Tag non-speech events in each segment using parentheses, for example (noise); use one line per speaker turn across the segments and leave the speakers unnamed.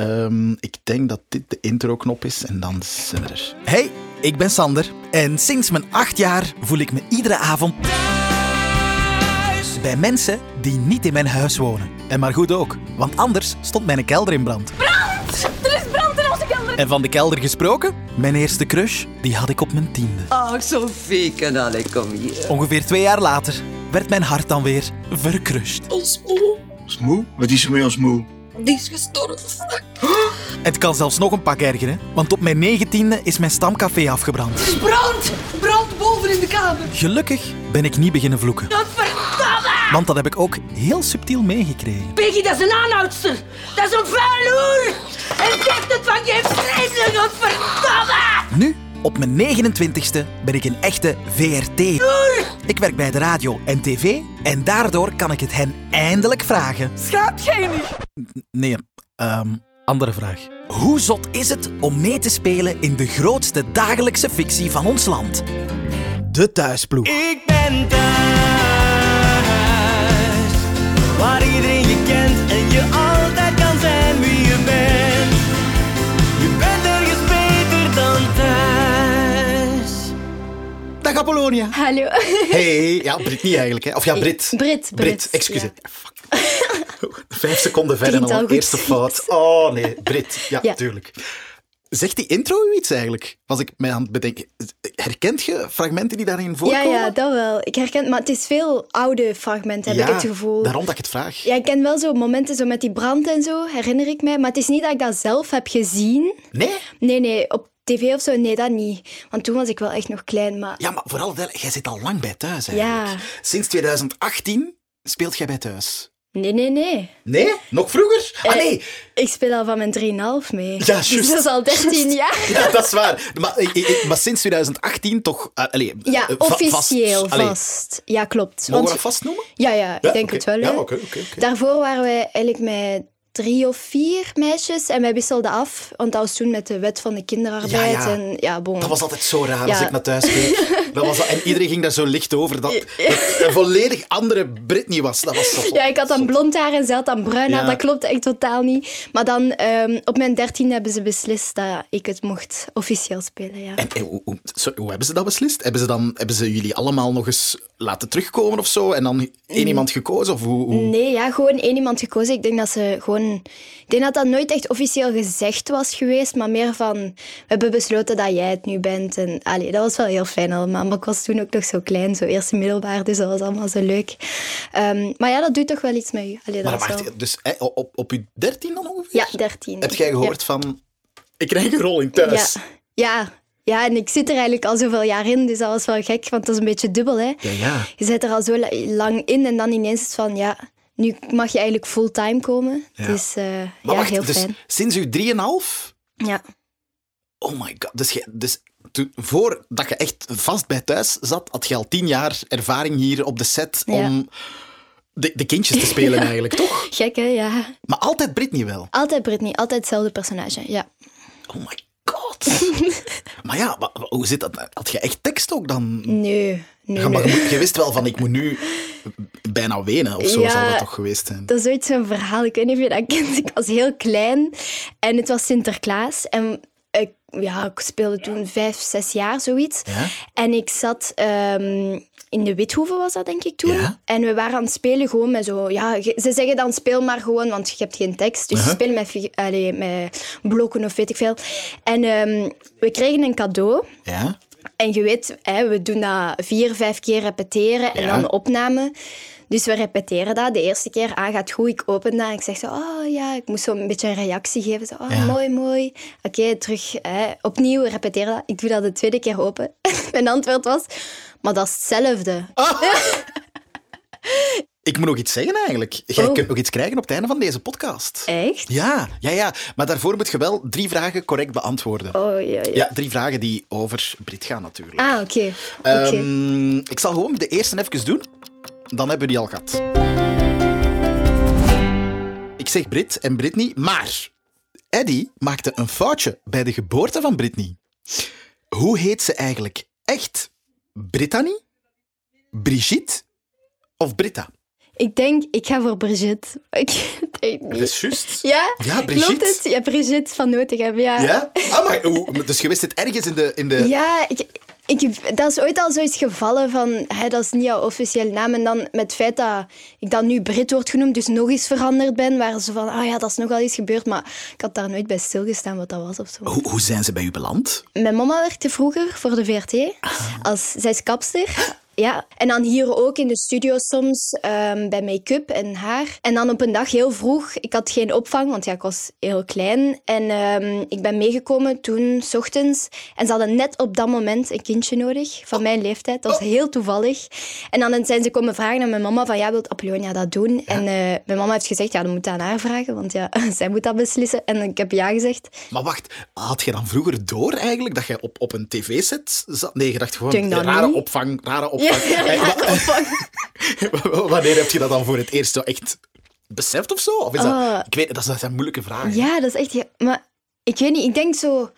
Ehm, ik denk dat dit de intro-knop is en dan zijn we er.
Hey, ik ben Sander en sinds mijn acht jaar voel ik me iedere avond bij mensen die niet in mijn huis wonen. En maar goed ook, want anders stond mijn kelder in brand.
Er is brand in onze kelder.
En van de kelder gesproken, mijn eerste crush, die had ik op mijn tiende.
Ach, Sophie, kan alle, kom hier.
Ongeveer twee jaar later werd mijn hart dan weer verkrust.
Ons moe.
Ons moe? Wat is er met ons moe?
Die is gestorven.
Het kan zelfs nog een pak ergeren, want op mijn negentiende is mijn stamcafé afgebrand.
Er is brand. Brand boven in de kamer.
Gelukkig ben ik niet beginnen vloeken,
Dat verdamme.
want dat heb ik ook heel subtiel meegekregen.
Peggy, dat is een aanhoudster. Dat is een vuil hoer. En zegt het van je vreselijk. Dat verdamme.
Nu, op mijn 29ste, ben ik een echte VRT. Ik werk bij de radio en tv en daardoor kan ik het hen eindelijk vragen.
Schaapgenie.
Nee, ehm, andere vraag. Hoe zot is het om mee te spelen in de grootste dagelijkse fictie van ons land? De thuisploeg.
Ik ben thuis, waar iedereen je kent en je altijd kan zijn wie je bent. Je bent ergens beter dan thuis.
Dag Apollonia!
Hallo.
Hey, ja, Brit niet eigenlijk, hè? Of ja, Brit.
Brit,
Brit,
Brit,
excuus.
ja.
Ja, fuck. (laughs) Vijf seconden verder
Klinkt
dan
al
de
goed.
eerste fout. Oh nee, Brit. Ja,
Ja.
tuurlijk. Zegt die intro u iets eigenlijk? Was ik mij aan het bedenken. Herkent je fragmenten die daarin
Ja,
voorkomen?
ja, dat wel. Ik herken, maar het is veel oude fragmenten, heb
Ja,
ik het gevoel.
Daarom dat ik het vraag.
Ja, ik ken wel zo momenten zo met die brand en zo, herinner ik mij. Maar het is niet dat ik dat zelf heb gezien.
Nee?
Nee, nee, op tv of zo, nee, dat niet. Want toen was ik wel echt nog klein, maar...
Ja, maar vooral, jij zit al lang bij thuis
Ja.
eigenlijk. Sinds 2018 speelt jij bij thuis.
Nee, nee, nee.
Nee? Nog vroeger? Ah
Eh,
nee,
Ik speel al van mijn 3,5 mee.
Ja,
(laughs) Dus
juist.
dat is al 13 jaar.
(laughs) Ja, dat is waar. Maar, ik- ik- ik- maar sinds 2018 toch... eh, allee,
Ja,
eh, va-
officieel
Allee,
vast. Ja, klopt.
Mogen we
Want-
dat vastnoemen?
Ja, ja, ik
Ja,
denk
oké.
het wel.
Ja,
hè.
oké, oké, oké.
Daarvoor waren wij eigenlijk met drie of vier meisjes en wij wisselden af, want dat was toen met de wet van de kinderarbeid.
Ja, ja.
En, ja, bon.
Dat was altijd zo raar als
Ja.
ik naar thuis
(laughs)
ging. Dat was dat- en iedereen ging daar zo licht over dat, dat een volledig andere Britney was. Dat was zo.
ja, ik had dan blond haar en zij had dan bruin haar.
Ja.
Dat klopt echt totaal niet. Maar dan ehm, op mijn dertien hebben ze beslist dat ik het mocht officieel spelen. Ja.
En, en hoe, hoe, sorry, hoe hebben ze dat beslist? Hebben ze, dan, hebben ze jullie allemaal nog eens laten terugkomen of zo? En dan
Mm.
één iemand gekozen? Of hoe, hoe-
Nee, ja, gewoon één iemand gekozen. Ik denk dat ze gewoon. Ik denk dat dat nooit echt officieel gezegd was geweest, maar meer van. We hebben besloten dat jij het nu bent. En allee, dat was wel heel fijn allemaal. Maar ik was toen ook nog zo klein, zo eerste middelbaar, dus dat was allemaal zo leuk. Ehm, maar ja, dat doet toch wel iets met je. Allee, dat
Maar
was wel-
wacht, dus hè, op, op je dertien dan ongeveer?
Ja, dertien.
Heb jij gehoord van... Ik krijg een rol in thuis.
Ja. ja. Ja, en ik zit er eigenlijk al zoveel jaar in, dus dat was wel gek, want dat is een beetje dubbel, hè.
Ja, ja.
Je zit er al zo la- lang in en dan ineens is het van, ja, nu mag je eigenlijk fulltime komen. Dus eh,
Maar
ja,
wacht,
heel
dus
fijn.
sinds je 3,5?
Ja.
Oh my god. Dus, jij- dus toen, voordat je echt vast bij thuis zat, had je al tien jaar ervaring hier op de set
Ja.
om de, de kindjes te spelen
(laughs)
eigenlijk, toch?
Gek, hè? Ja.
Maar altijd Britney wel.
Altijd Britney, altijd hetzelfde personage. Ja.
Oh my god.
(laughs)
maar ja, wa- wa- hoe zit dat? Had je echt tekst ook dan?
Nee, nee,
Ja, maar
nee.
je, je wist wel van, ik moet nu bijna wenen of zo
Ja.
zal dat toch geweest zijn.
Dat is ooit zo'n verhaal, ik weet niet of je dat kent. Ik was heel klein en het was Sinterklaas. En ik, ja, ik speelde toen vijf, zes jaar, zoiets.
Ja?
En ik zat ehm, in de Withoeve, was dat denk ik toen.
Ja.
En we waren aan het spelen gewoon met zo... Ja, ge- ze zeggen dan speel maar gewoon, want je hebt geen tekst. Dus
Uh-huh.
je speelt met, figu- allee, met blokken of weet ik veel. En ehm, we kregen een cadeau.
Ja?
En je weet, hè, we doen dat vier, vijf keer repeteren en
Ja.
dan de opname. Dus we repeteren dat. De eerste keer, ah, gaat goed. Ik open dat en ik zeg zo, oh ja, ik moest zo een beetje een reactie geven. Zo, oh,
Ja.
mooi, mooi. Oké, terug, hè, opnieuw repeteren dat. Ik doe dat de tweede keer open. (laughs) Mijn antwoord was, maar dat is hetzelfde.
Oh. Ik moet nog iets zeggen eigenlijk. Jij
Oh.
kunt nog iets krijgen op het einde van deze podcast.
Echt?
Ja, ja, ja. Maar daarvoor moet je wel drie vragen correct beantwoorden.
Oh, ja, ja.
Ja, drie vragen die over Brit gaan natuurlijk.
Ah, oké. oké
Ehm, ik zal gewoon de eerste even doen. Dan hebben we die al gehad. Ik zeg Brit en Britney, maar Eddie maakte een foutje bij de geboorte van Britney. Hoe heet ze eigenlijk? Echt? Brittany? Brigitte? Of Britta?
Ik denk, ik ga voor Brigitte. (laughs) Ik denk
Dat
niet.
is juist.
Ja?
Ja, Brigitte.
Klopt het? Ja, Brigitte van Notegem, ja.
Ja? Ah, maar hoe- dus je wist het ergens in de... In de...
Ja, ik, ik, dat is ooit al zoiets gevallen van, hè, dat is niet jouw officiële naam. En dan met het feit dat ik dan nu Brit word genoemd, dus nog eens veranderd ben, waren ze van, ah ja, dat is nogal iets gebeurd. Maar ik had daar nooit bij stilgestaan wat dat was of zo.
Hoe, hoe zijn ze bij u beland?
Mijn mama werkte vroeger voor de VRT. Als, zij is kapster. Ja. En dan hier ook in de studio soms ehm, bij make-up en haar. En dan op een dag heel vroeg, ik had geen opvang, want ja, ik was heel klein. En ehm, ik ben meegekomen toen, s ochtends. En ze hadden net op dat moment een kindje nodig, van mijn leeftijd. Dat was heel toevallig. En dan zijn ze komen vragen aan mijn mama van, ja, wilt Apollonia dat doen? En eh, mijn mama heeft gezegd, ja, dan moet je aan haar vragen, want ja, (laughs) zij moet dat beslissen. En ik heb ja gezegd.
Maar wacht, had je dan vroeger door eigenlijk dat je op, op een tv-set zat? Nee, je dacht gewoon,
Denk dat
rare
niet.
opvang, rare
Ja,
opvang.
(laughs)
Eh, wa- (laughs) Wanneer heb je dat dan voor het eerst zo echt beseft of zo? Of is dat,
Ah.
ik weet, dat, is- dat zijn moeilijke vragen.
Ja, dat is echt... heel- Maar ik weet niet, ik denk zo...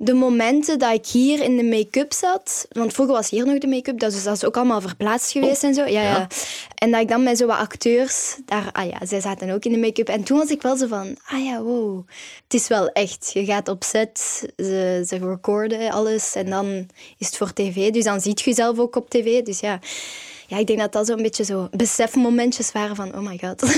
De momenten dat ik hier in de make-up zat... Want vroeger was hier nog de make-up, dus dat is ook allemaal verplaatst geweest en zo. Ja, ja. En dat ik dan met zo wat acteurs... Daar, ah ja, zij zaten ook in de make-up. En toen was ik wel zo van... Ah ja, wow. Het is wel echt. Je gaat op set, ze, ze recorden alles. En dan is het voor tv. Dus dan ziet je jezelf ook op tv. Dus ja... Ja, ik denk dat dat zo'n beetje zo besefmomentjes waren van... Oh my god. (laughs)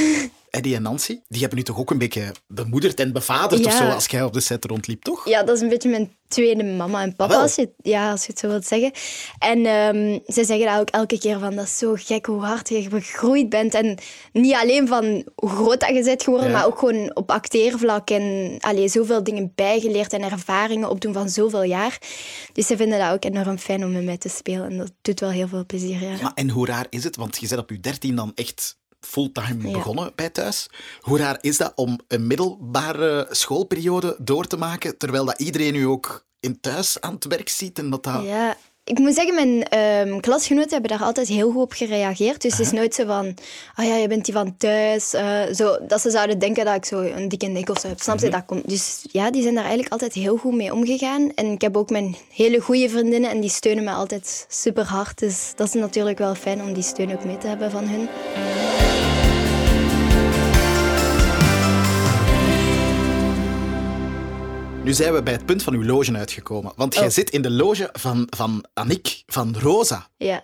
Eddie en Nancy, die hebben nu toch ook een beetje bemoederd en bevaderd of
Ja.
zo, als jij op de set rondliep, toch?
Ja, dat is een beetje mijn tweede mama en papa,
Ah, wel.
als je, het- ja, als je het zo wilt zeggen. En ehm, zij zeggen dat ook elke keer van, dat is zo gek hoe hard je gegroeid bent. En niet alleen van hoe groot dat je bent geworden,
Ja.
maar ook gewoon op acteervlak. En allee, zoveel dingen bijgeleerd en ervaringen opdoen van zoveel jaar. Dus ze vinden dat ook enorm fijn om met mij te spelen. En dat doet wel heel veel plezier, ja.
Maar en hoe raar is het, want je bent op je dertien dan echt fulltime
Ja.
begonnen bij thuis. Hoe raar is dat om een middelbare schoolperiode door te maken, terwijl dat iedereen u ook in thuis aan het werk ziet en dat dat...
Ja, ik moet zeggen, mijn ehm, klasgenoten hebben daar altijd heel goed op gereageerd. Dus het is nooit zo van, ah ja, je bent die van thuis. eh, zo, dat ze zouden denken dat ik zo een dikke nek of zo heb. Snap je? Dat komt. Dus ja, die zijn daar eigenlijk altijd heel goed mee omgegaan. En ik heb ook mijn hele goede vriendinnen en die steunen me altijd super hard. Dus dat is natuurlijk wel fijn om die steun ook mee te hebben van hun.
Nu zijn we bij het punt van uw loge uitgekomen, want jij
Oh.
zit in de loge van, van Annick, van Rosa.
Ja.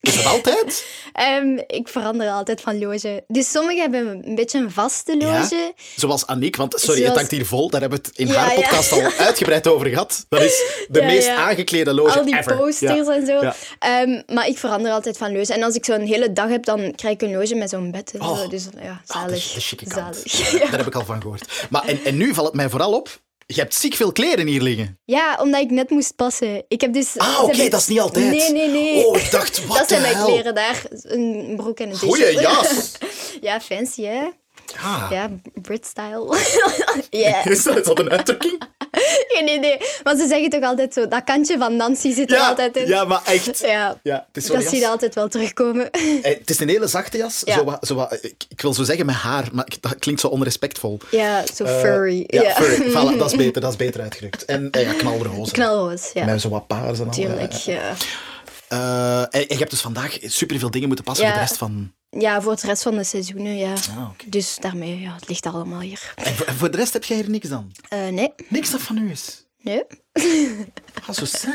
Is dat altijd?
Ehm, ik verander altijd van loge. Dus sommigen hebben een beetje een vaste (laughs) loge.
Zoals Annick, want sorry, het
Zoals-
hangt hier vol, daar hebben we het in
Ja,
haar
ja.
podcast
(laughs)
al uitgebreid over gehad. Dat is de
Ja,
meest
ja.
aangeklede loge
Al die
ever.
posters
Ja.
en zo.
Ja.
Ehm, maar ik verander altijd van loge. En als ik zo'n hele dag heb, dan krijg ik een loge met zo'n bed. En
Oh.
zo. Dus ja,
Ah,
zalig.
de, de chique kant.
zalig. (laughs)
Daar heb ik al van gehoord. Maar en, en nu valt het mij vooral op. Je hebt ziek veel kleren hier liggen.
Ja, omdat ik net moest passen. Ik heb dus...
Ah,
ze
oké,
hebben-
dat is niet altijd.
Nee, nee, nee.
Oh, ik
(laughs)
dacht, wat
dat zijn
de
mijn
hel?
kleren daar. Een broek en een t-shirt.
Goeie jas.
(laughs)
Ah.
ja, fancy, hè?
Ja.
Ja, Brit-style. (laughs)
(laughs)
Ja,
Is dat, is dat een
(laughs)
uitdrukking?
geen idee. Maar ze zeggen toch altijd zo, dat kantje van Nancy zit er
Ja,
altijd in.
ja maar echt.
(laughs) ja.
Ja, het is zo'n
dat zie je
jas.
altijd wel terugkomen. (laughs)
Eh, het is een hele zachte jas.
Ja.
Zo wat, zo wat, ik, ik wil zo zeggen met haar, maar ik- dat klinkt zo onrespectvol.
ja, zo Eh, furry.
Eh, Ja, furry.
(laughs)
Voilà, dat is beter, dat is beter uitgedrukt. En eh, ja, knalroze.
Knalroos, ja.
Met zo wat paars en al.
Tuurlijk,
eh.
ja.
Eh, en, en je hebt dus vandaag superveel dingen moeten passen
Ja.
voor de rest van...
Ja, voor het rest van de seizoenen, ja.
Ah, oké.
Dus daarmee, ja, het ligt allemaal hier.
En voor, en voor de rest heb jij hier niks dan?
Eh, nee,
Niks dat van u is?
nee.
Ah, zo sad.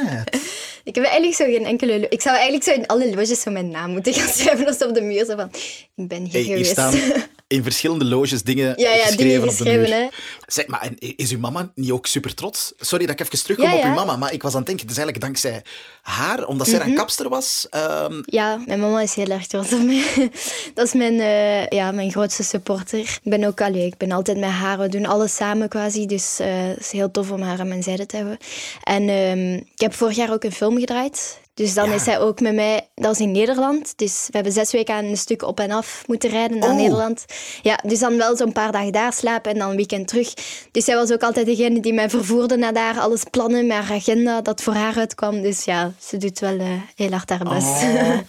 Ik heb eigenlijk zo geen enkele... lo- Ik zou eigenlijk zo in alle loges zo mijn naam moeten gaan (laughs) schrijven. Als op de muur, zo van... Ik ben hier
Hey, hier
geweest.
staan
(laughs)
in verschillende loges dingen
Ja, ja,
geschreven
dingen
op de muur.
geschreven, hè.
Zeg, maar en is uw mama niet ook super trots? Sorry dat ik even terugkom
Ja,
op
ja. Mhm.
uw mama, maar ik was aan het denken, het is eigenlijk dankzij haar, omdat zij een kapster was. ehm,
Ja, mijn mama is heel erg trots op mij. (laughs) Dat is mijn, eh, ja, mijn grootste supporter. Ik ben ook allee, ik ben altijd met haar. We doen alles samen quasi. Dus eh, het is heel tof om haar aan mijn zijde te hebben. En ehm, ik heb vorig jaar ook een film gedraaid. Dus dan
Ja.
is zij ook met mij. Dat was in Nederland. Dus we hebben zes weken aan een stuk op en af moeten rijden naar
Oh.
Nederland. Ja, dus dan wel zo'n paar dagen daar slapen en dan een weekend terug. Dus zij was ook altijd degene die mij vervoerde naar daar. Alles plannen, mijn agenda, dat voor haar uitkwam. Dus ja, ze doet wel eh, heel hard haar best. (laughs)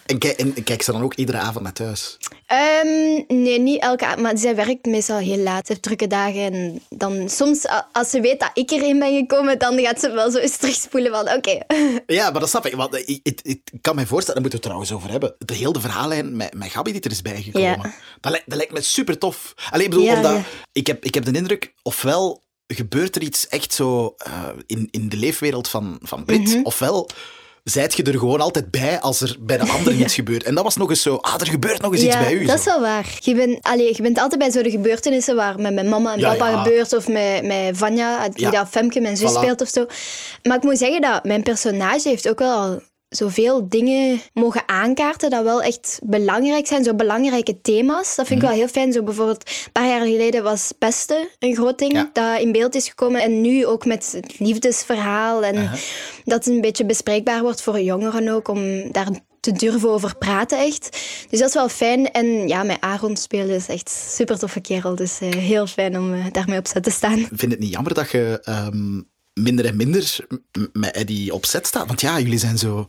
en, kijk, en kijk ze dan ook iedere avond naar thuis?
Ehm, nee, niet elke avond. Maar zij werkt meestal heel laat. Ze heeft drukke dagen. En dan soms, a- als ze weet dat ik erin ben gekomen, dan gaat ze wel zo eens (laughs) terugspoelen van... Oké,
Ja, maar dat snap ik. Want eh, ik, ik, ik kan me voorstellen, daar moeten we het trouwens over hebben. De hele verhaallijn met, met Gabi die er is bijgekomen.
Ja.
Dat, lijkt, dat lijkt me super tof. Alleen ik bedoel,
Ja,
omdat
ja.
Ik, heb, ik heb de indruk, ofwel gebeurt er iets echt zo eh, in, in de leefwereld van, van Brit,
Mhm.
ofwel zijt je er gewoon altijd bij als er bij de
(laughs)
ander iets gebeurt. En dat was nog eens zo, ah, er gebeurt nog eens iets
ja,
bij u.
dat
zo.
is wel waar. Je, bent allee, je bent altijd bij zo'n gebeurtenissen waar met mijn mama en
Ja,
papa
ja.
gebeurt of met, met Vanja, die
Ja.
dat Femke, mijn zus,
Voilà.
speelt of zo. Maar ik moet zeggen dat mijn personage heeft ook wel al zoveel dingen mogen aankaarten dat wel echt belangrijk zijn, zo belangrijke thema's. Dat
Mhm.
vind ik wel heel fijn. Zo bijvoorbeeld, een paar jaar geleden was pesten een groot ding
Ja.
dat in beeld is gekomen. En nu ook met het liefdesverhaal en dat het een beetje bespreekbaar wordt voor jongeren ook, om daar te durven over praten echt. Dus dat is wel fijn. En ja, met Aaron spelen is echt super toffe kerel. Dus eh, heel fijn om eh, daarmee op set te staan.
vind het niet jammer dat je ehm, minder en minder m- met Eddie op set staat? Want ja, jullie zijn zo...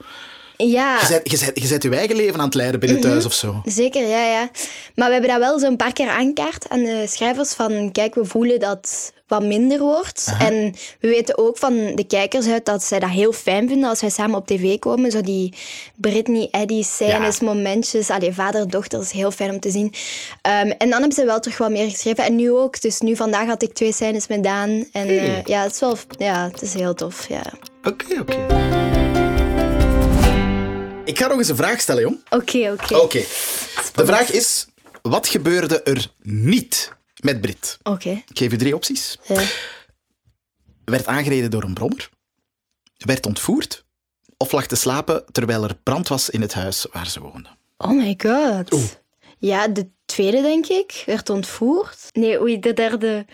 Ja.
Je zet, je, zet, je zet je eigen leven aan het leiden binnen
Mhm.
thuis of zo.
Zeker, ja, ja. Maar we hebben dat wel zo'n paar keer aankaart aan de schrijvers van kijk, we voelen dat het wat minder wordt. En we weten ook van de kijkers uit dat zij dat heel fijn vinden als wij samen op tv komen. Zo die Britney, Eddie scènes, momentjes. Allee, vader, dochter, dat is heel fijn om te zien. Ehm, en dan hebben ze wel terug wat meer geschreven. En nu ook. Dus nu vandaag had ik twee scènes met Daan. En eh, ja, het is wel... Ja, het is heel tof, ja.
Oké, oké. Ik ga nog eens een vraag stellen, jong.
Oké, oké.
Oké. De vraag is, wat gebeurde er niet met Brit?
Oké. eh.
Ik geef u drie opties.
Ja.
Werd aangereden door een brommer. Werd ontvoerd. Of lag te slapen terwijl er brand was in het huis waar ze woonde.
Oh my god. Ja, de tweede, denk ik, werd ontvoerd. Nee, oei, de derde.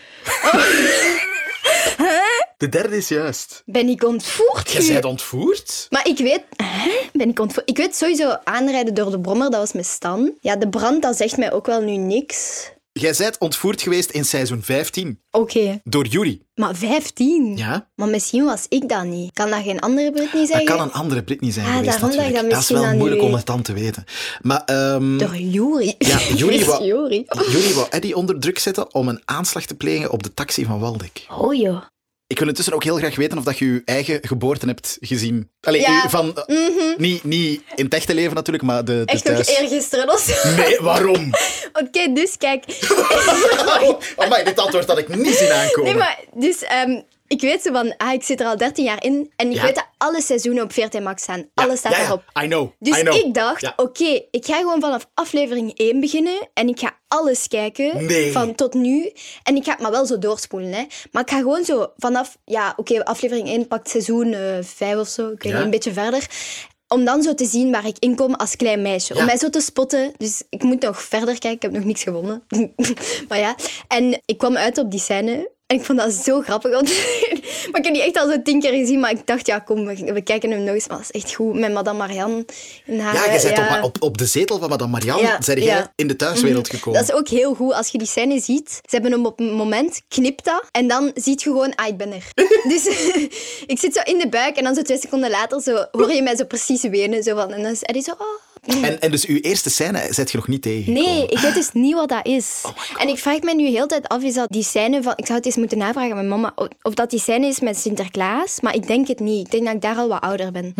De derde is juist.
Ben ik ontvoerd?
Je
nu?
bent ontvoerd?
(laughs) Maar ik weet... Hè? Ben ik ontvoerd? Ik weet sowieso aanrijden door de brommer, dat was met Stan. Ja, de brand, dat zegt mij ook wel nu niks.
Jij bent ontvoerd geweest in seizoen 15
Oké,
door Yuri.
maar 15?
Ja?
Maar misschien was ik dat niet. Kan dat geen andere Britney
Dat
zeggen?
kan een andere Britney zijn
Ah,
geweest
daarom dat ik
natuurlijk.
dat
is
misschien
wel
dan niet
moeilijk om
weet.
het dan te weten. Maar ehm
Door Yuri.
Ja,
(laughs)
Yuri
Is
wa-
Yuri.
Yuri wou Eddie onder druk zetten om een aanslag te plegen op de taxi van Waldeck.
Oh joh.
Ik wil intussen ook heel graag weten of dat je je eigen geboorte hebt gezien. Allee,
Ja. Mhm.
u- van, eh, niet, niet in het echte leven natuurlijk, maar de, de
Echt nog
thuis.
eergisteren of zo.
Dus Nee, waarom?
(laughs) Oké, dus kijk.
Oh, amai, dit antwoord had ik niet zien aankomen.
Nee, maar dus ehm, ik weet zo van, ah, ik zit er al 13 jaar in en ik
Ja.
weet dat alle seizoenen op 14 Max staan.
Ja,
Alles staat
ja, ja.
erop.
I know,
Dus
I know.
ik dacht,
Ja.
oké, ik ga gewoon vanaf aflevering 1 beginnen en ik ga alles kijken
Nee.
van tot nu. En ik ga het maar wel zo doorspoelen, hè. Maar ik ga gewoon zo vanaf, ja, oké, aflevering 1 pakt seizoen 5 of zo, ik weet
Ja.
niet, een beetje verder. Om dan zo te zien waar ik in kom als klein meisje. Om mij zo te spotten. Dus ik moet nog verder kijken. Ik heb nog niks gewonnen. (laughs) maar ja. En ik kwam uit op die scène. En ik vond dat zo grappig. want- (laughs) maar ik heb die echt al zo tien keer gezien. Maar ik dacht, ja, kom, we, we kijken hem nog eens. Maar dat is echt goed. Met madame Marianne in haar...
ja,
eh,
jij bent op, ma- op, op de zetel van madame Marianne
Ja,
zijn jij
ja.
in de thuiswereld gekomen.
Mhm. dat is ook heel goed als je die scène ziet. Ze hebben hem op een moment, knipt dat. En dan ziet je gewoon, ah, ik ben er. dus (laughs) ik zit zo in de buik. En dan zo twee seconden later zo, hoor je mij zo precies wenen. Zo van, en dan is Eddie zo, ah.
en, en dus uw eerste scène zet je nog niet tegen.
Nee, ik weet dus niet wat dat is. en ik vraag me nu heel de tijd af, is dat die scène van... Ik zou het eens moeten navragen aan mijn mama. o- Of dat die scène is met Sinterklaas. Maar ik denk het niet. Ik denk dat ik daar al wat ouder ben.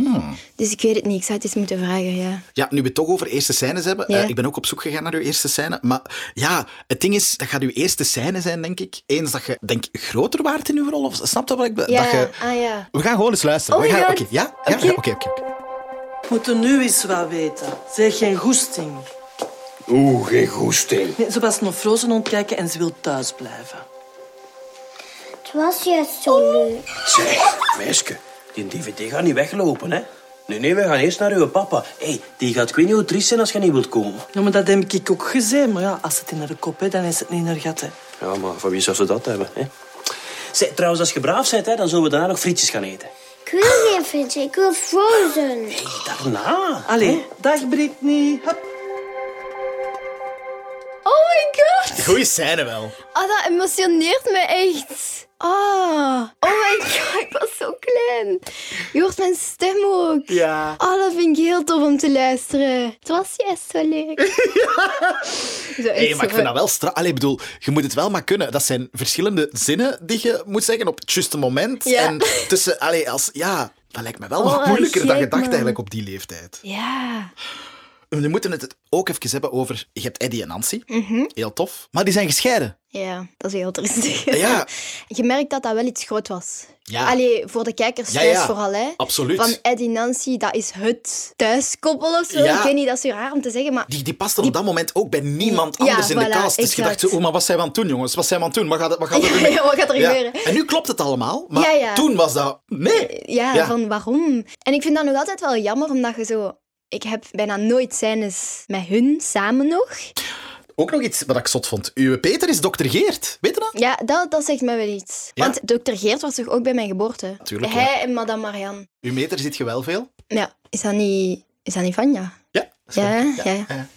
Dus ik weet het niet. Ik zou het eens moeten vragen, ja.
Ja, nu we het toch over eerste scènes hebben.
Ja.
eh, ik ben ook op zoek gegaan naar uw eerste scène. Maar ja, het ding is, dat gaat uw eerste scène zijn, denk ik. Eens dat je, denk ik, groter waart in uw rol. Of snap je wat ik bedoel?
Ja,
Dat je...
ah ja.
We gaan gewoon eens luisteren.
Oh
we
my
gaan...
God.
Oké, ja? Ja,
Oké.
ja, oké, oké, oké.
We moeten nu eens wat weten. Zeg geen goesting.
Oeh, geen goesting.
Nee, ze was nog Frozen ontkijken en ze wil thuis blijven.
Het was juist zo leuk.
Zeg, meisje, die DVD gaat niet weglopen, hè? Nee, nee, we gaan eerst naar uw papa. Hé, hey, die gaat ik weet niet hoe triest zijn als je niet wilt komen.
Ja, maar dat heb ik ook gezien. Maar ja, als het in haar kop is, dan is het niet in haar gat. Hè.
Ja, maar van wie zou ze dat hebben, hè? Zeg, trouwens, als je braaf bent, hè, dan zullen we daarna nog frietjes gaan eten.
Ik wil geen frietje, ik wil Frozen.
Daarna?
Allee, dag Britney. Hup.
Oh my god!
Goeie scène wel.
Oh, dat emotioneert me echt. Oh, oh my god, ik was zo klein. Je hoort mijn stem ook.
Ja.
Oh, dat vind ik heel tof om te luisteren. Het was juist zo
(laughs)
leuk. Zo, echt
Nee, maar
zo
ik vind
van-
dat wel straf. Allee, ik bedoel, je moet het wel maar kunnen. Dat zijn verschillende zinnen die je moet zeggen op het juiste moment.
Ja.
En tussen, allee, als, ja... Dat lijkt me wel
Oh,
wat moeilijker dan
gek,
gedacht
man.
eigenlijk op die leeftijd.
Ja.
We moeten het ook even hebben over... Je hebt Eddie en Nancy.
Mhm.
Heel tof. Maar die zijn gescheiden.
Ja, dat is heel triestig.
Ah, Ja.
(laughs) Je merkt dat dat wel iets groot was.
Ja.
Allee, voor de kijkers
Ja,
thuis
ja.
vooral, hè.
Absoluut.
Van Eddie Nancy, dat is het thuiskoppel of zo.
Ja.
Ik weet niet, dat is zo raar om te zeggen, maar...
Die, die paste op dat moment ook bij niemand
Ja,
anders in de
voilà,
cast. Dus je
exact.
dacht zo, oh, maar wat zijn we aan het doen, jongens? Wat zijn we aan het doen? Wat gaat, wat
(laughs)
gaat er gebeuren?
Ja, wat gaat er
Ja.
gebeuren?
En nu klopt het allemaal, maar
Ja, ja.
toen was dat... Nee.
Ja,
Ja.
van waarom? En ik vind dat nog altijd wel jammer, omdat je zo... Ik heb bijna nooit scènes met hun samen nog.
Ook nog iets wat ik zot vond. Uwe Peter is dokter Geert. Weet je dat?
Ja, dat, dat zegt me wel iets.
Ja.
Want dokter Geert was toch ook bij mijn geboorte?
Tuurlijk, ja.
Hij en madame Marianne.
Uw meter zit je wel veel.
Ja, is dat niet... Is dat niet Vanja?
Ja.
Ja, ja, ja.
ja.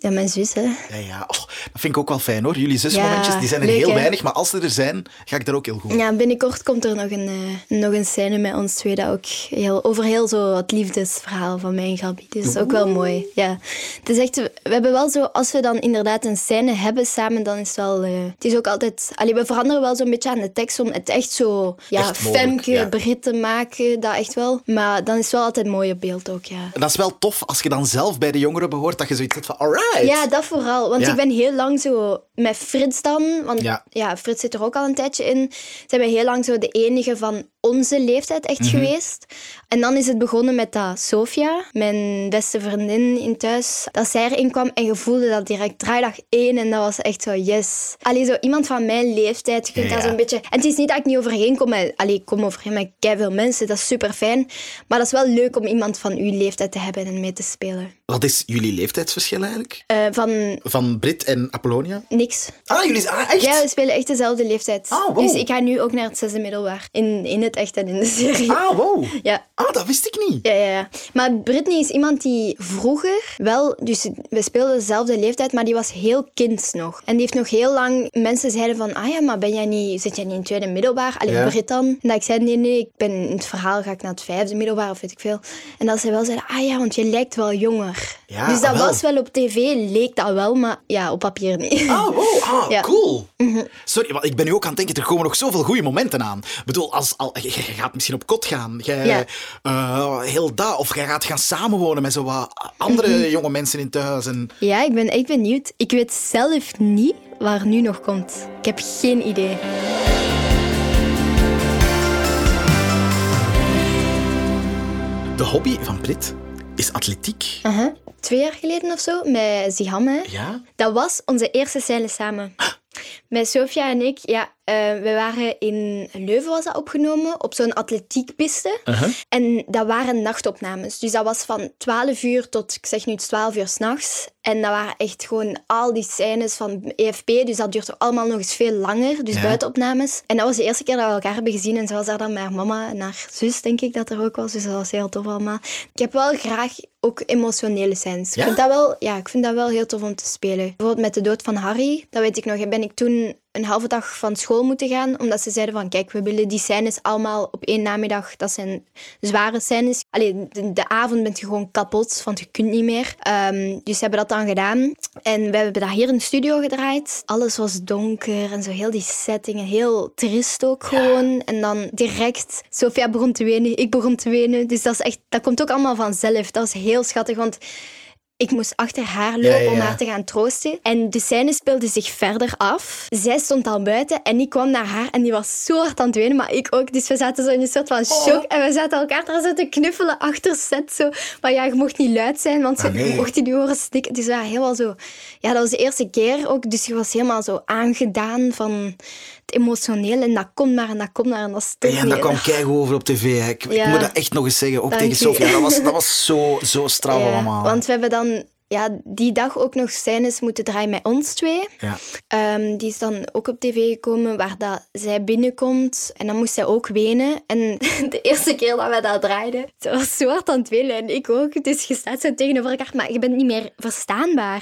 Ja, mijn zus, hè.
Ja, ja. Oh, dat vind ik ook wel fijn hoor. Jullie zusmomentjes,
Ja,
die zijn er
leuk,
heel
hè?
weinig, maar als ze er zijn, ga ik daar ook heel goed. op.
Ja, binnenkort komt er nog een, eh, nog een scène met ons twee, dat ook heel, over heel zo het liefdesverhaal van mij en Gabi. Dus dat is ook wel mooi. Ja. Het is echt, we hebben wel zo, als we dan inderdaad een scène hebben samen, dan is het wel, eh, het is ook altijd, allee, we veranderen wel zo'n beetje aan de tekst om het echt zo, ja,
Echt mogelijk,
femke,
ja.
Brit te maken, dat echt wel. Maar dan is het wel altijd mooi op beeld ook, ja.
En dat is wel tof als je dan zelf bij de jongeren behoort, dat je zoiets hebt van, alright.
Ja, dat vooral. Want
Ja.
ik ben heel lang zo met Frits dan. Want
Ja.
ja. Frits zit er ook al een tijdje in. Zijn we heel lang zo de enige van onze leeftijd echt
Mhm.
geweest. En dan is het begonnen met dat Sofia, mijn beste vriendin in thuis, dat zij erin kwam en je voelde dat direct draaidag één. En dat was echt zo, yes. Allee, zo iemand van mijn leeftijd, je kunt
Ja,
daar
ja.
zo'n beetje... En het is niet dat ik niet overheen kom met... Allee, ik kom overheen met veel mensen, dat is super fijn. Maar dat is wel leuk om iemand van uw leeftijd te hebben en mee te spelen.
Wat is jullie leeftijdsverschil eigenlijk?
Eh, van
Van Brit en Apollonia?
niks.
Ah, jullie zijn ah, echt?
Ja, we spelen echt dezelfde leeftijd.
Ah, wow.
Dus ik ga nu ook naar het zesde middelbaar. In, in het echt en in de serie.
Ah, wow.
Ja.
Ah, dat wist ik niet.
Ja, ja, ja. Maar Britney is iemand die vroeger wel... Dus we speelden dezelfde leeftijd, maar die was heel kind nog. En die heeft nog heel lang... Mensen zeiden van... Ah ja, maar ben jij niet, zit jij niet in het tweede middelbaar? Alleen
Ja.
Brit dan? En dat ik zei... Nee, nee, ik ben in het verhaal ga ik naar het vijfde middelbaar of weet ik veel. En dat ze wel zeiden... Ah ja, want je lijkt wel jonger.
Ja,
dus dat
ah, wel.
was wel op tv, leek dat wel, maar ja, op papier niet.
Ah, wow, ah,
Ja. Mhm.
cool. Sorry, want ik ben nu ook aan het denken, er komen nog zoveel goede momenten aan. Ik bedoel, als, al, je je gaat misschien op kot gaan, jij,
Ja.
eh, heel dat, of jij gaat gaan samenwonen met zo wat andere
Mhm.
jonge mensen in thuis. En,
Ja, ik ben echt benieuwd. Ik weet zelf niet waar nu nog komt. Ik heb geen idee.
De hobby van Brit is atletiek.
Aha. Twee jaar geleden of zo, met Ziham, hè.
Ja?
Dat was onze eerste scène samen. Met Sofia en ik, ja, eh, we waren in Leuven was dat opgenomen, op zo'n atletiekpiste. En dat waren nachtopnames. Dus dat was van 12 uur tot, ik zeg nu, het is 12 uur s'nachts. En dat waren echt gewoon al die scènes van EFP. Dus dat duurde allemaal nog eens veel langer. Dus
Ja.
buitenopnames. En dat was de eerste keer dat we elkaar hebben gezien. En ze was daar dan met haar mama en haar zus, denk ik, dat er ook was. Dus dat was heel tof allemaal. Ik heb wel graag ook emotionele scènes.
Ja?
Ik, vind dat wel, ja, ik vind dat wel heel tof om te spelen. Bijvoorbeeld met de dood van Harry. Dat weet ik nog. Ben ik toen een halve dag van school moeten gaan. Omdat ze zeiden van, kijk, we willen die scènes allemaal op één namiddag. Dat zijn zware scènes. Allee, de, de avond bent je gewoon kapot, want je kunt niet meer. Ehm, dus ze hebben dat dan gedaan. En we hebben dat hier in de studio gedraaid. Alles was donker en zo heel die setting. En heel trist ook gewoon. En dan direct, Sofia begon te wenen, ik begon te wenen. Dus dat, is echt, dat komt ook allemaal vanzelf. Dat was heel schattig, want... Ik moest achter haar lopen
ja,
om
ja.
haar te gaan troosten. En de scène speelde zich verder af. Zij stond al buiten en ik kwam naar haar en die was zo hard aan het wenen, maar ik ook. Dus we zaten zo in een soort van
Oh.
shock en we zaten elkaar daar zo te knuffelen achter set. Zo. Maar ja, je mocht niet luid zijn, want ze
Ah, nee.
mocht die niet horen stikken. Dus we waren helemaal zo... Ja, dat was de eerste keer ook, dus je was helemaal zo aangedaan van het emotioneel. En dat komt maar en dat komt maar en dat stond
Ja, en dat
niet.
kwam keigoed over op tv. hè. Ik, ik
Ja.
moet dat echt nog eens zeggen, ook
Dank
tegen
u.
Sofia. Dat was, dat
(laughs)
was zo, zo straf
Ja,
allemaal.
Want we hebben dan ja, die dag ook nog scènes moeten draaien met ons twee.
Ja.
Ehm, die is dan ook op tv gekomen, waar dat zij binnenkomt. En dan moest zij ook wenen. En (laughs) de eerste keer dat we dat draaiden, ze was zo hard aan het wenen. En ik ook. Dus je staat zo tegenover elkaar, maar je bent niet meer verstaanbaar.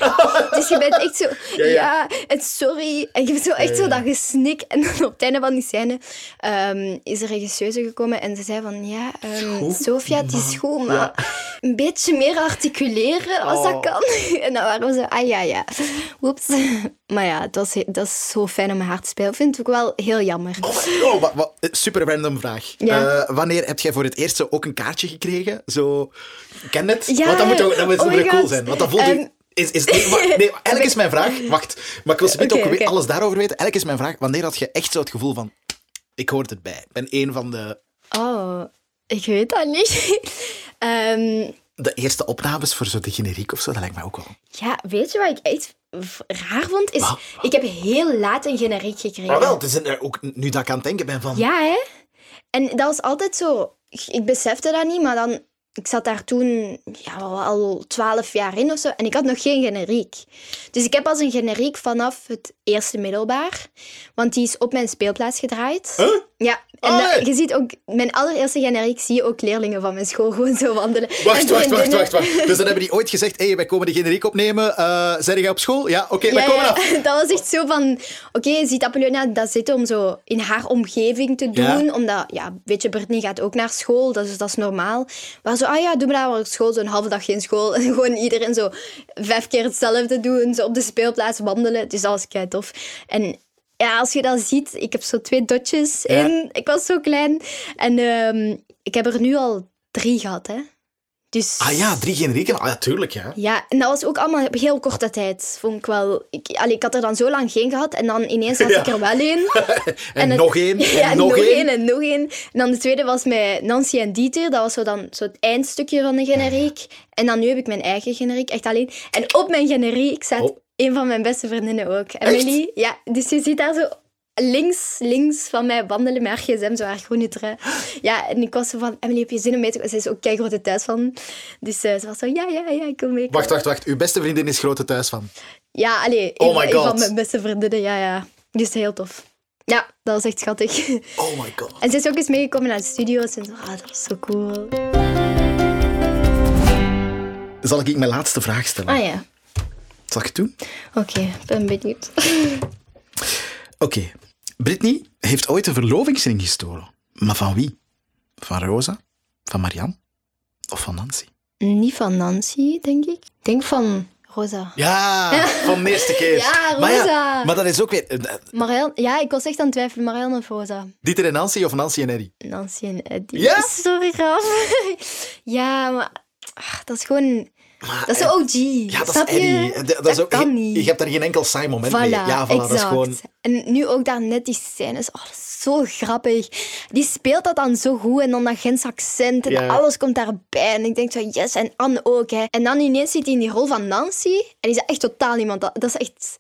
dus je bent echt zo, ja, en Ah, sorry. En je hebt zo echt zo dat gesnik. En dan op het einde van die scène ehm, is er een regisseuse gekomen. En ze zei van, ja, ehm, Sofia, het is goed, maar een beetje meer articuleren als dat kan. (laughs) dan? En dan waren we zo, ah ja, ja. Oeps. Maar ja, het was, he- dat is zo fijn om mijn hart te spelen. Ik vind het ook wel heel jammer.
Oh, wat, wat- eh, super random vraag.
Ja.
Eh, wanneer heb jij voor het eerst zo ook een kaartje gekregen? Zo, ik ken het.
Ja,
want dat moet, ook, dat moet
oh my
super cool
God.
zijn. Want dat voelt
Ehm.
Is, is, nee, maar-
(laughs)
nee, maar eigenlijk is mijn vraag... Wacht, maar ik wil ze niet
Oké,
ook weer
oké.
alles daarover weten. Eigenlijk is mijn vraag, wanneer had je echt zo het gevoel van... Ik hoor het bij. Ik ben een van de,
Oh, ik weet dat niet. (laughs) Ehm,
de eerste opnames voor zo de generiek of zo. Dat lijkt mij ook wel.
ja, weet je wat ik echt v- raar vond? Is, ik heb heel laat een generiek gekregen.
Maar Ah, wel, het is een- ook nu dat ik aan het denken ben van...
Ja, hè? En dat was altijd zo. Ik besefte dat niet, maar dan. Ik zat daar toen ja, al twaalf jaar in of zo en ik had nog geen generiek. Dus ik heb pas een generiek vanaf het eerste middelbaar, want die is op mijn speelplaats gedraaid. Ja, en
Oh,
dat-
nee.
je ziet ook, mijn allereerste generiek zie je ook leerlingen van mijn school gewoon zo wandelen.
Wacht,
En
wacht, wacht,
vriendinnen.
wacht,
(laughs)
wacht. Dus dan hebben die ooit gezegd, hé, wij komen de generiek opnemen. Eh zijn jij op school? Ja, oké, wij
Ja,
komen
ja,
af.
(laughs) dat was echt zo van... Oké, je ziet Apollonia dat zitten om zo in haar omgeving te
Ja.
doen. Omdat, ja, weet je, Brittany gaat ook naar school, dus dat is normaal. Maar zo, ah ja, doe maar daar wel op school, zo'n halve dag geen school. (laughs) En gewoon iedereen zo vijf keer hetzelfde doen, zo op de speelplaats wandelen. Dus dat was kei tof. En ja, als je dat ziet, ik heb zo twee dotjes
Ja.
in. Ik was zo klein. En ehm, ik heb er nu al drie gehad, hè. Dus...
Ah ja, drie generieken. Ah ja, tuurlijk, ja.
Ja, en dat was ook allemaal op heel korte tijd, vond ik wel. Ik, allee, ik had er dan zo lang geen gehad en dan ineens had ik er wel
(laughs)
één.
En,
het-
nog één, en
(laughs) ja,
nog één.
en nog één. En dan de tweede was met Nancy en Dieter. Dat was zo dan zo het eindstukje van de generiek. En dan nu heb ik mijn eigen generiek, echt alleen. En op mijn generiek staat
Oh.
een van mijn beste vriendinnen ook, Emily. Ja, dus je ziet daar zo links, links van mij wandelen met haar gsm, zo haar groene trui. Ja, en ik was zo van, Emily, heb je zin om mee te komen? Ze is ook keigrote thuis van. Dus eh, ze was zo, ja, ja, ja, ik kom mee. ik kom
Wacht, wacht, wacht. Uw beste vriendin is grote thuis van.
ja, allee,
Oh
een,
my
een
God.
van mijn beste vriendinnen, ja, ja. Dus heel tof. Ja, dat was echt schattig. (laughs)
Oh my god.
En ze is ook eens meegekomen naar de studio's en zo, ah, dat was zo cool.
Zal ik mijn laatste vraag stellen?
Ah ja,
Zal ik het doen?
oké, ik ben benieuwd.
Oké. Britney heeft ooit een verlovingsring gestolen. Maar van wie? Van Rosa? Van Marianne? Of van Nancy?
Niet van Nancy, denk ik. Ik Denk van Rosa. (laughs)
Ja, van de eerste keer.
Ja,
Maar, ja,
Rosa.
maar dat is ook weer... eh, eh,
Marielle, ja, ik was echt aan het twijfelen, Marielle of Rosa.
Dieter en Nancy of Nancy en Eddie?
Nancy en Eddie.
Ja?
Sorry, Raf. (laughs) ja, maar ah, dat is gewoon... dat is zo OG,
Ja, dat
snap
is
je?
Eddie. Eh, Dat, is ook,
kan
je,
niet.
je hebt daar geen enkel saai moment mee.
Voilà,
Ja, voilà,
exact.
dat is gewoon...
En nu ook daar net die scènes. Oh, dat is zo grappig. Die speelt dat dan zo goed. En dan dat Gens accent. En
Ja.
alles komt daarbij. En ik denk zo, yes. En Anne ook. Hè. En dan ineens zit hij in die rol van Nancy. En is dat echt totaal iemand. Dat, dat is echt...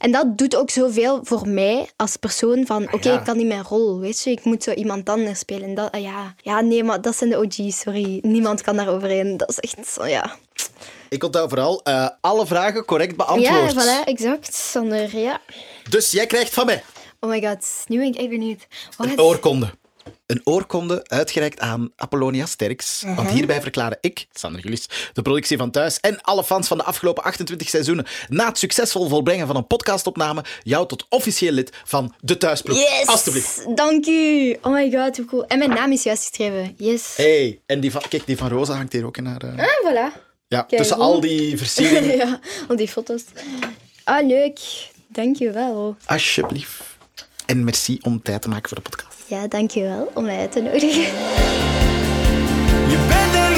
En dat doet ook zoveel voor mij als persoon. Van,
Ah,
oké, ik kan niet mijn rol, weet je. Ik moet zo iemand anders spelen. En dat, ah, ja. ja, nee, maar dat zijn de OG's, sorry. Niemand kan daar overheen. Dat is echt zo, ja.
Ik onthoud vooral eh, alle vragen correct beantwoord.
Ja, voilà, exact. Sander, ja.
Dus jij krijgt van mij...
Oh my god, nu ben ik echt benieuwd. Wat?
Een oorkonde. Een oorkonde uitgereikt aan Apollonia Sterks. Want hierbij verklaren ik, Sander Gullis, de productie van Thuis en alle fans van de afgelopen 28 seizoenen na het succesvol volbrengen van een podcastopname jou tot officieel lid van de Thuisploeg.
Yes!
Alsjeblieft.
Dank u! Oh my god, hoe cool. En mijn naam is juist geschreven. Yes.
Hey, en die van, kijk, die van Rosa hangt hier ook in haar... eh,
Ah, voilà.
ja,
kijk,
tussen
hoe-
al die
(laughs)
versieringen. (laughs)
ja, al die foto's. Ah, leuk. Dankjewel.
Alsjeblieft. En merci om tijd te maken voor de podcast.
Ja, dankjewel om mij uit te nodigen.
Je bent er